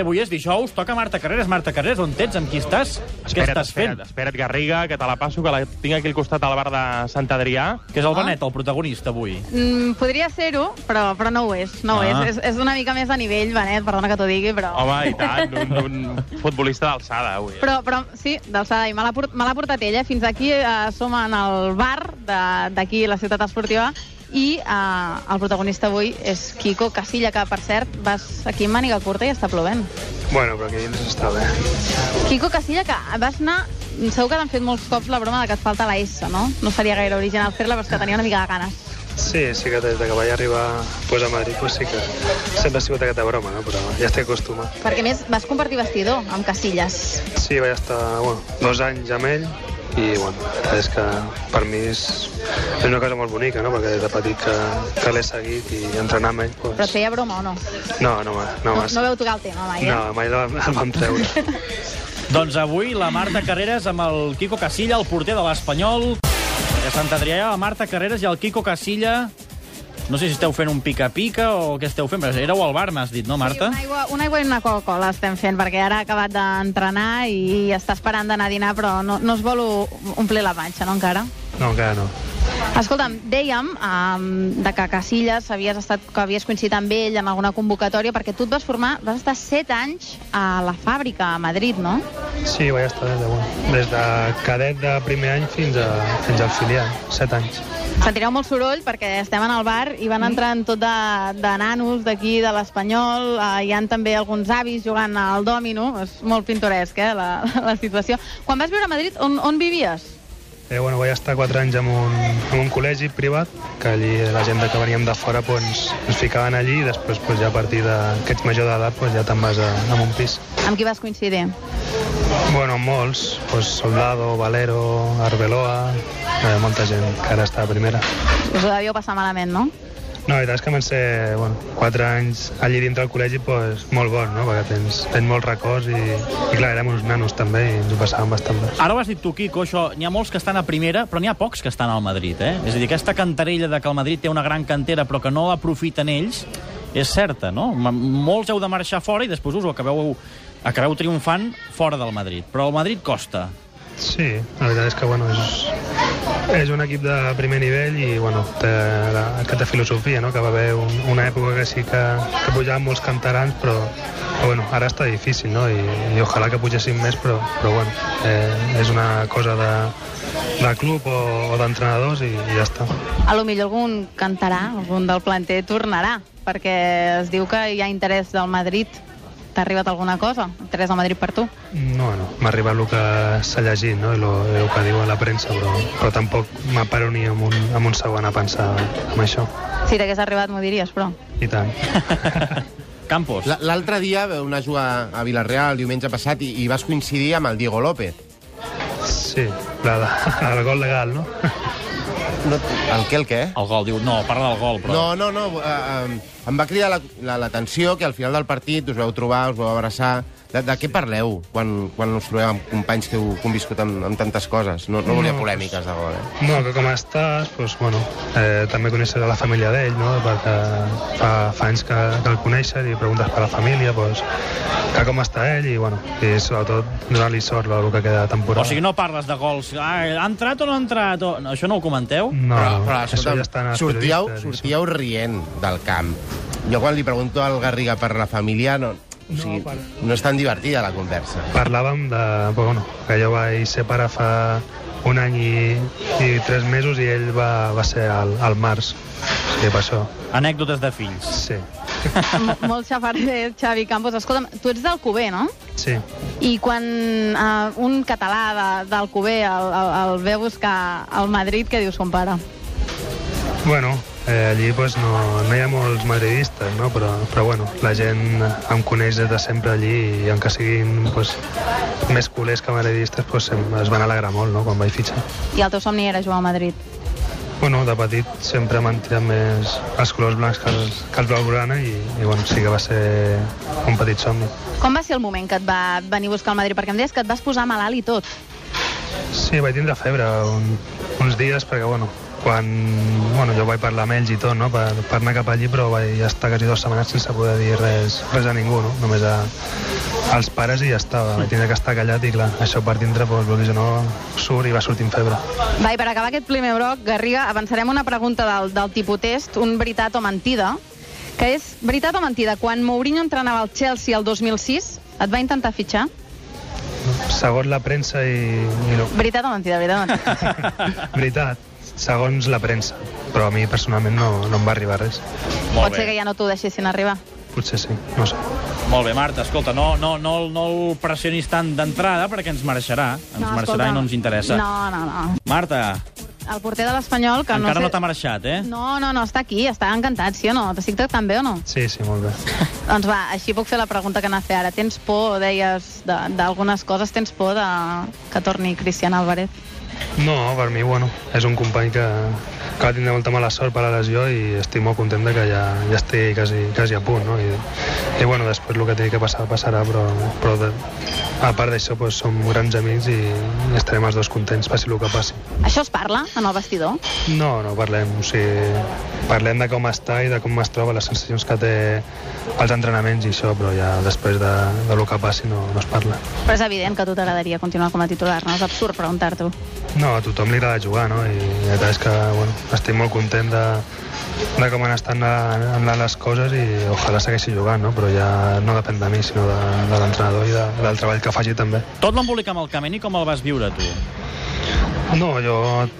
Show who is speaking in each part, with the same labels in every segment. Speaker 1: Avui és dijous, toca Marta Carreras. Marta Carreras, on ets? Amb qui estàs? Què
Speaker 2: Espera't,
Speaker 1: estàs fent?
Speaker 2: espera't, espera't, Garriga, que te la passo, que la tinc aquí al costat al bar de Sant Adrià.
Speaker 1: Que és el Benet, el protagonista, avui.
Speaker 3: Mm, podria ser-ho, però, però no ho és. No ho
Speaker 1: Ah.
Speaker 3: és. és. És una mica més a nivell, Benet, perdona que t'ho digui, però...
Speaker 2: Home, i tant, un, un futbolista d'alçada, avui. eh?
Speaker 3: Però, però sí, d'alçada, i me l'ha port- me l'ha portat ella. Fins aquí eh, som en el bar de- d'aquí, la ciutat esportiva, i eh, el protagonista avui és Quico Casilla, que, per cert, vas aquí amb màniga curta i està plovent.
Speaker 4: Bueno, però aquí dins està bé.
Speaker 3: Quico Casilla, que vas anar... Segur que t'han fet molts cops la broma de que et falta la S, no? No seria gaire original fer-la, però és que tenia una mica de ganes.
Speaker 4: Sí, sí que des de que vaig arribar pues, a Madrid pues, sí que sempre ha sigut aquesta broma, no? però ja estic acostumat.
Speaker 3: Perquè, a més, vas compartir vestidor amb Casillas.
Speaker 4: Sí, vaig estar bueno, dos anys amb ell i bueno, la veritat és que per mi és, és una cosa molt bonica, no? perquè des de petit que, que l'he seguit i entrenar amb ell... Pues...
Speaker 3: Però et feia broma o no?
Speaker 4: No, no, ma- no,
Speaker 3: No,
Speaker 4: massa.
Speaker 3: no veu tocar el tema mai, eh?
Speaker 4: no, mai la- el vam treure.
Speaker 1: Doncs avui la Marta Carreras amb el Quico Casilla, el porter de l'Espanyol. I a Sant Adrià, la Marta Carreras i el Quico Casilla... No sé si esteu fent un pica-pica o què esteu fent, però éreu al bar, m'has dit, no, Marta?
Speaker 3: Sí, una, aigua, una aigua i una Coca-Cola estem fent, perquè ara ha acabat d'entrenar i està esperant d'anar a dinar, però no, no es vol o- omplir la panxa, no, encara?
Speaker 4: No, encara no.
Speaker 3: Escolta'm, dèiem um, de que Casillas havies estat, que havies coincidit amb ell en alguna convocatòria, perquè tu et vas formar, vas estar 7 anys a la fàbrica, a Madrid, no?
Speaker 4: Sí, vaig estar des de, bueno, des de cadet de primer any fins, a, fins al filial, set anys.
Speaker 3: Sentireu molt soroll perquè estem en el bar i van entrant tot de, de nanos d'aquí, de l'Espanyol. Eh, hi han també alguns avis jugant al dòmino. És molt pintoresc, eh, la, la situació. Quan vas viure a Madrid, on, on vivies?
Speaker 4: Eh, bueno, vaig estar 4 anys en un, en un col·legi privat, que allí la gent que veníem de fora doncs, ens ficaven allí i després pues, ja a partir de, que ets major d'edat pues, ja te'n vas a, a un pis.
Speaker 3: Amb qui vas coincidir?
Speaker 4: Bueno, molts, pues, Soldado, Valero, Arbeloa, eh, molta gent que ara està a primera.
Speaker 3: Us ho devíeu passar malament, no?
Speaker 4: No, la veritat és que van ser bueno, 4 anys allí dintre del col·legi pues, molt bons, no? perquè tens, tens molts records i, i clar, érem uns nanos també i ens ho passàvem bastant bé.
Speaker 1: Ara ho has dit tu, Quico, això, n'hi ha molts que estan a primera, però n'hi ha pocs que estan al Madrid, eh? És a dir, aquesta cantarella de que el Madrid té una gran cantera però que no aprofiten ells, és certa, no? M- Molts heu de marxar fora i després us ho acabeu, acabeu triomfant fora del Madrid. Però el Madrid costa.
Speaker 4: Sí, la veritat és que bueno, és, és un equip de primer nivell i bueno, té la, aquesta filosofia, no? que va haver un, una època que sí que, que pujaven molts cantarans, però, però bueno, ara està difícil, no? I, i ojalà que pugessin més, però, però bueno, eh, és una cosa de, de club o, o d'entrenadors i, i ja està.
Speaker 3: A lo millor algun cantarà, algun del planter tornarà, perquè es diu que hi ha interès del Madrid. T'ha arribat alguna cosa? Interès del Madrid per tu?
Speaker 4: No, no, m'ha arribat el que s'ha llegit, no? I lo, el que diu a la premsa, però, però tampoc m'aparo ni amb un, amb un segon a pensar en això.
Speaker 3: Si t'hagués arribat m'ho diries, però...
Speaker 4: I tant.
Speaker 1: Campos.
Speaker 5: L- L'altre dia vau anar a jugar a Vilareal, diumenge passat, i, i vas coincidir amb el Diego López.
Speaker 4: Sí, la, la, el gol legal, no?
Speaker 5: No, el què, el què?
Speaker 1: El gol, diu, no, parla del gol, però...
Speaker 5: No, no, no, eh, eh, em va cridar la- la- l'atenció que al final del partit us vau trobar, us vau abraçar... De, de què parleu quan, quan us trobeu amb companys que heu conviscut amb, amb tantes coses? No, no volia
Speaker 4: No,
Speaker 5: polèmiques de gol, eh?
Speaker 4: No, que com estàs, doncs, bueno, eh, també coneixes a la família d'ell, no? Perquè fa, fa anys que, que el coneixes i preguntes per la família, doncs, que com està ell i, bueno, i sobretot donar-li sort el que queda de temporada.
Speaker 1: O sigui, no parles de gols. Ah, ha entrat o no ha entrat? O... no, Això no ho comenteu?
Speaker 4: No, però, però, això
Speaker 5: escolta'm,
Speaker 4: ja està en els
Speaker 5: sortíeu,
Speaker 4: periodistes i això.
Speaker 5: sortíeu rient del camp. Jo quan li pregunto al Garriga per la família, no, o sigui, no, no és tan divertida la conversa.
Speaker 4: Parlàvem de... Però, bueno, que jo vaig ser pare fa un any i, i tres mesos i ell va, va ser al, al març. O sigui, per això,
Speaker 1: Anècdotes de fills.
Speaker 4: sí.
Speaker 3: Mo- molt xafarder, Xavi Campos. Escolta'm, tu ets d'Alcover, no?
Speaker 4: Sí,
Speaker 3: I quan uh, un català de- d'Alcover el, el, el ve a buscar al Madrid, què dius, compare?
Speaker 4: Bueno, eh, allí pues, no, no hi ha molts madridistes, no? però, però bueno, la gent em coneix des de sempre allí i encara siguin pues, més culers que madridistes pues, em, es van alegrar molt no? quan vaig fitxar.
Speaker 3: I el teu somni era jugar al Madrid.
Speaker 4: Bueno, de petit sempre m'han tirat més els colors blancs que els, que els blaugrana i, i bueno, sí que va ser un petit somni.
Speaker 3: Com va ser el moment que et va venir a buscar al Madrid? Perquè em deies que et vas posar malalt i tot.
Speaker 4: Sí, vaig tindre febre un, uns dies perquè, bueno, quan bueno, jo vaig parlar amb ells i tot no? per, per anar cap allí però vaig estar quasi dues setmanes sense poder dir res, res a ningú no? només a, als pares i ja estava vaig tindre que estar callat i clar, això per dintre doncs, vulguis o no, surt i va sortint febre
Speaker 3: Va, i per acabar aquest primer bloc, Garriga, avançarem una pregunta del, del tipus test, un veritat o mentida, que és veritat o mentida, quan Mourinho entrenava el Chelsea el 2006, et va intentar fitxar?
Speaker 4: segons la premsa i, i lo,
Speaker 3: Veritat o mentida, veritat o mentida.
Speaker 4: veritat, segons la premsa però a mi personalment no, no em va arribar res
Speaker 1: Molt
Speaker 3: Pot
Speaker 1: bé.
Speaker 3: ser que ja no t'ho deixessin arribar.
Speaker 1: Doncs
Speaker 4: potser sí, no sé
Speaker 1: Molt bé, Marta, escolta, no, no, no, no el pressionis tant d'entrada perquè ens marxarà. Ens
Speaker 3: no,
Speaker 1: marxarà
Speaker 3: escolta,
Speaker 1: i no ens interessa.
Speaker 3: No, no, no.
Speaker 1: Marta,
Speaker 3: El porter de l'Espanyol, que
Speaker 1: encara no,
Speaker 3: no sé...
Speaker 1: t'ha marxat, eh?
Speaker 3: no, no, no, està aquí, està encantat, sí o no? T'estic tractant bé o no?
Speaker 4: sí, sí, molt bé
Speaker 3: Doncs va, així puc fer la pregunta que anava a fer ara. Tens por, deies, de- d'algunes coses, tens por de que torni Cristian Álvarez?
Speaker 4: No, per mi, bueno, és un company que, que va tindre molta mala sort per la lesió i estic molt content de que ja, ja estigui quasi, quasi a punt, no? I, i bueno, després el que tingui que passar, passarà, però, però de, a part d'això doncs, som grans amics i estarem els dos contents, passi el que passi.
Speaker 3: Això es parla en el vestidor?
Speaker 4: No, no parlem, o sigui, parlem de com està i de com es troba, les sensacions que té els entrenaments i això, però ja després de, de lo que passi no, no es parla.
Speaker 3: Però és evident que a tu t'agradaria continuar com a titular, no? És absurd preguntar-t'ho.
Speaker 4: No, a tothom li agrada jugar, no? I la veritat és que bueno, estic molt content de, de com han estat anant anant les coses i ojalà segueixi jugant, no? Però ja no depèn de mi, sinó de, de l'entrenador i de, del treball que faci també.
Speaker 1: Tot l'embolic amb el Cameni, com el vas viure, tu?
Speaker 4: No, jo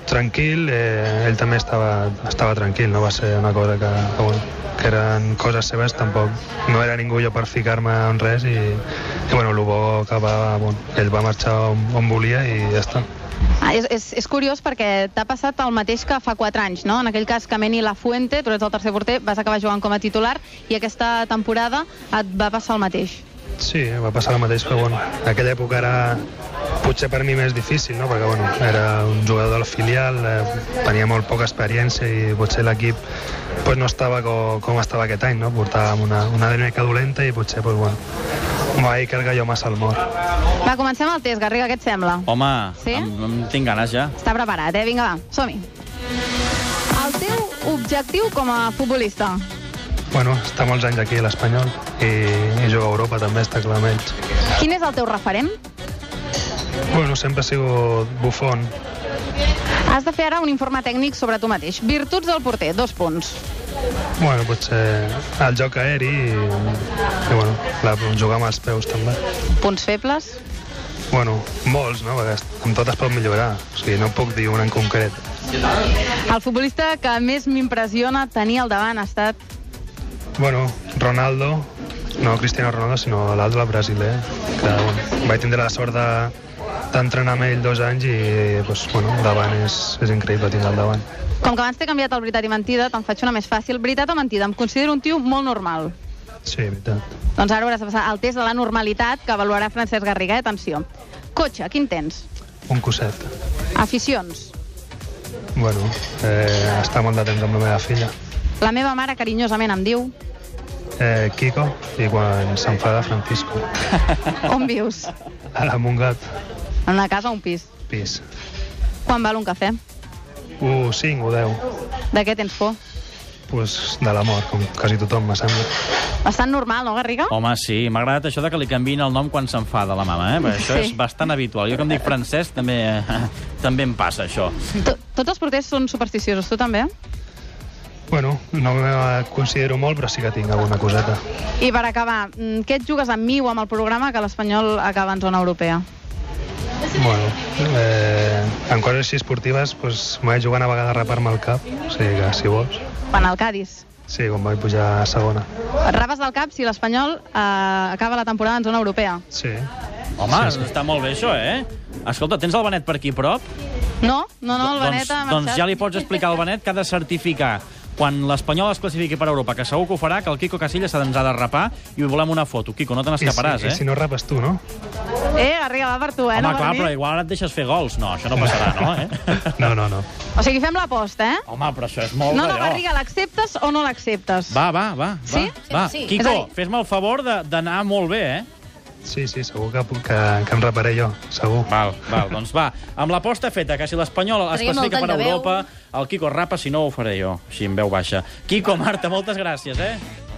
Speaker 4: tranquil, eh, ell també estava, estava tranquil, no va ser una cosa que, que, bueno, que eren coses seves, tampoc no era ningú jo per ficar-me en res i, i bueno, el bo que va, bueno, ell va marxar on, on volia i ja està.
Speaker 3: Ah, és, és, és curiós perquè t'ha passat el mateix que fa 4 anys, no? En aquell cas, Cameni La Fuente, tu ets el tercer porter, vas acabar jugant com a titular i aquesta temporada et va passar el mateix.
Speaker 4: Sí, va passar el mateix, però bueno, en aquella època era potser per mi més difícil, no? perquè bueno, era un jugador del filial, eh, tenia molt poca experiència i potser l'equip pues, no estava com, com estava aquest any, no? portàvem una, una dinàmica dolenta i potser pues, bueno, em va dir que el gallo massa al mort.
Speaker 3: Va, comencem el test, Garriga, què et sembla?
Speaker 1: Home,
Speaker 3: Sí?
Speaker 1: em, em tinc ganes ja.
Speaker 3: Està preparat, eh? Vinga, va, som-hi. El teu objectiu com a futbolista?
Speaker 4: Bueno, està molts anys aquí a l'Espanyol i, i juga a Europa també, està clar amb ells.
Speaker 3: Quin és el teu referent?
Speaker 4: Bueno, sempre ha sigut bufon,
Speaker 3: Has de fer ara un informe tècnic sobre tu mateix. Virtuts del porter, dos punts.
Speaker 4: bueno, potser el joc aeri i, i bueno, la, jugar amb els peus també.
Speaker 3: Punts febles?
Speaker 4: Bueno, molts, no? Perquè amb tot es pot millorar. O sigui, no puc dir un en concret.
Speaker 3: El futbolista que més m'impressiona tenir al davant ha estat...
Speaker 4: Bueno, Ronaldo, no Cristiano Ronaldo, sinó l'altre, el brasiler, que bueno, vaig tindre la sort de d'entrenar amb ell dos anys i doncs, bueno, davant és, és increïble tindre al davant.
Speaker 3: Com que abans t'he canviat el veritat i mentida, te'n faig una més fàcil. Veritat o mentida? Em considero un tio molt normal.
Speaker 4: Sí, veritat.
Speaker 3: Doncs ara hauràs de passar al test de la normalitat que avaluarà Francesc Garriga. Eh? Atenció. Cotxe, quin tens?
Speaker 4: Un coset.
Speaker 3: Aficions.
Speaker 4: Bueno, eh, està molt de temps amb la meva filla.
Speaker 3: La meva mare carinyosament em diu...
Speaker 4: Eh, Kiko, i quan s'enfada Francisco.
Speaker 3: On vius?
Speaker 4: A la Montgat,
Speaker 3: En una casa o un pis?
Speaker 4: pis.
Speaker 3: Quan val un cafè?
Speaker 4: Uh, 5 o 10.
Speaker 3: De què tens por?
Speaker 4: Pues de la mort, com quasi tothom, me sembla.
Speaker 3: Bastant normal, no, Garriga?
Speaker 1: Home, sí, m'ha agradat això de que li canviïn el nom quan s'enfada la mama, eh? Perquè això
Speaker 3: Sí.
Speaker 1: és bastant habitual. Jo, com dic francès, també, també em passa, això.
Speaker 3: To- Tots els porters són supersticiosos, tu també?
Speaker 4: Bueno, no me considero molt, però sí que tinc alguna coseta.
Speaker 3: I per acabar, mm, què et jugues amb mi o amb el programa que l'Espanyol acaba en zona europea?
Speaker 4: Bueno, eh, en coses així esportives pues, m'ho vaig jugar una vegada a rapar-me el cap, o sigui que si vols.
Speaker 3: Quan el Cádiz.
Speaker 4: Sí, quan vaig pujar a segona.
Speaker 3: Et rapes del cap si l'Espanyol eh, acaba la temporada en zona europea.
Speaker 4: Sí.
Speaker 1: Home, està molt bé, això, eh? Escolta, tens el Benet per aquí a prop?
Speaker 3: No, no, no, el
Speaker 1: doncs,
Speaker 3: Benet ha marxat.
Speaker 1: doncs ja li pots explicar al Benet que ha de certificar quan l'Espanyol es classifiqui per Europa, que segur que ho farà, que el Quico Casillas ens ha de rapar i volem una foto. Quico, no te n'escaparàs,
Speaker 4: I si,
Speaker 1: eh?
Speaker 4: I si no rapes tu, no?
Speaker 3: Eh, Garriga, va per tu, eh?
Speaker 1: Home,
Speaker 3: no per
Speaker 1: clar,
Speaker 3: mi.
Speaker 1: però igual ara et deixes fer gols. No, això no passarà, no, eh?
Speaker 4: No, no, no.
Speaker 3: O sigui, fem l'aposta, eh?
Speaker 1: Home, però això és molt
Speaker 3: No, no,
Speaker 1: d'allò.
Speaker 3: Garriga, l'acceptes o no l'acceptes?
Speaker 1: Va, va, va.
Speaker 3: Sí?
Speaker 1: Va, va.
Speaker 6: Sí, sí.
Speaker 1: Quico,
Speaker 3: És a dir-
Speaker 1: fes-me el favor de- d'anar molt bé, eh?
Speaker 4: Sí, sí, segur que, que, que em reparé jo, segur.
Speaker 1: Val, val, doncs va. Amb l'aposta feta, que si l'Espanyol es
Speaker 6: Traiem el
Speaker 1: classifica
Speaker 6: tall
Speaker 1: per
Speaker 6: de veu.
Speaker 1: Europa, el Kiko rapa, si no ho faré jo, així en veu baixa. Kiko, Marta, moltes gràcies, eh?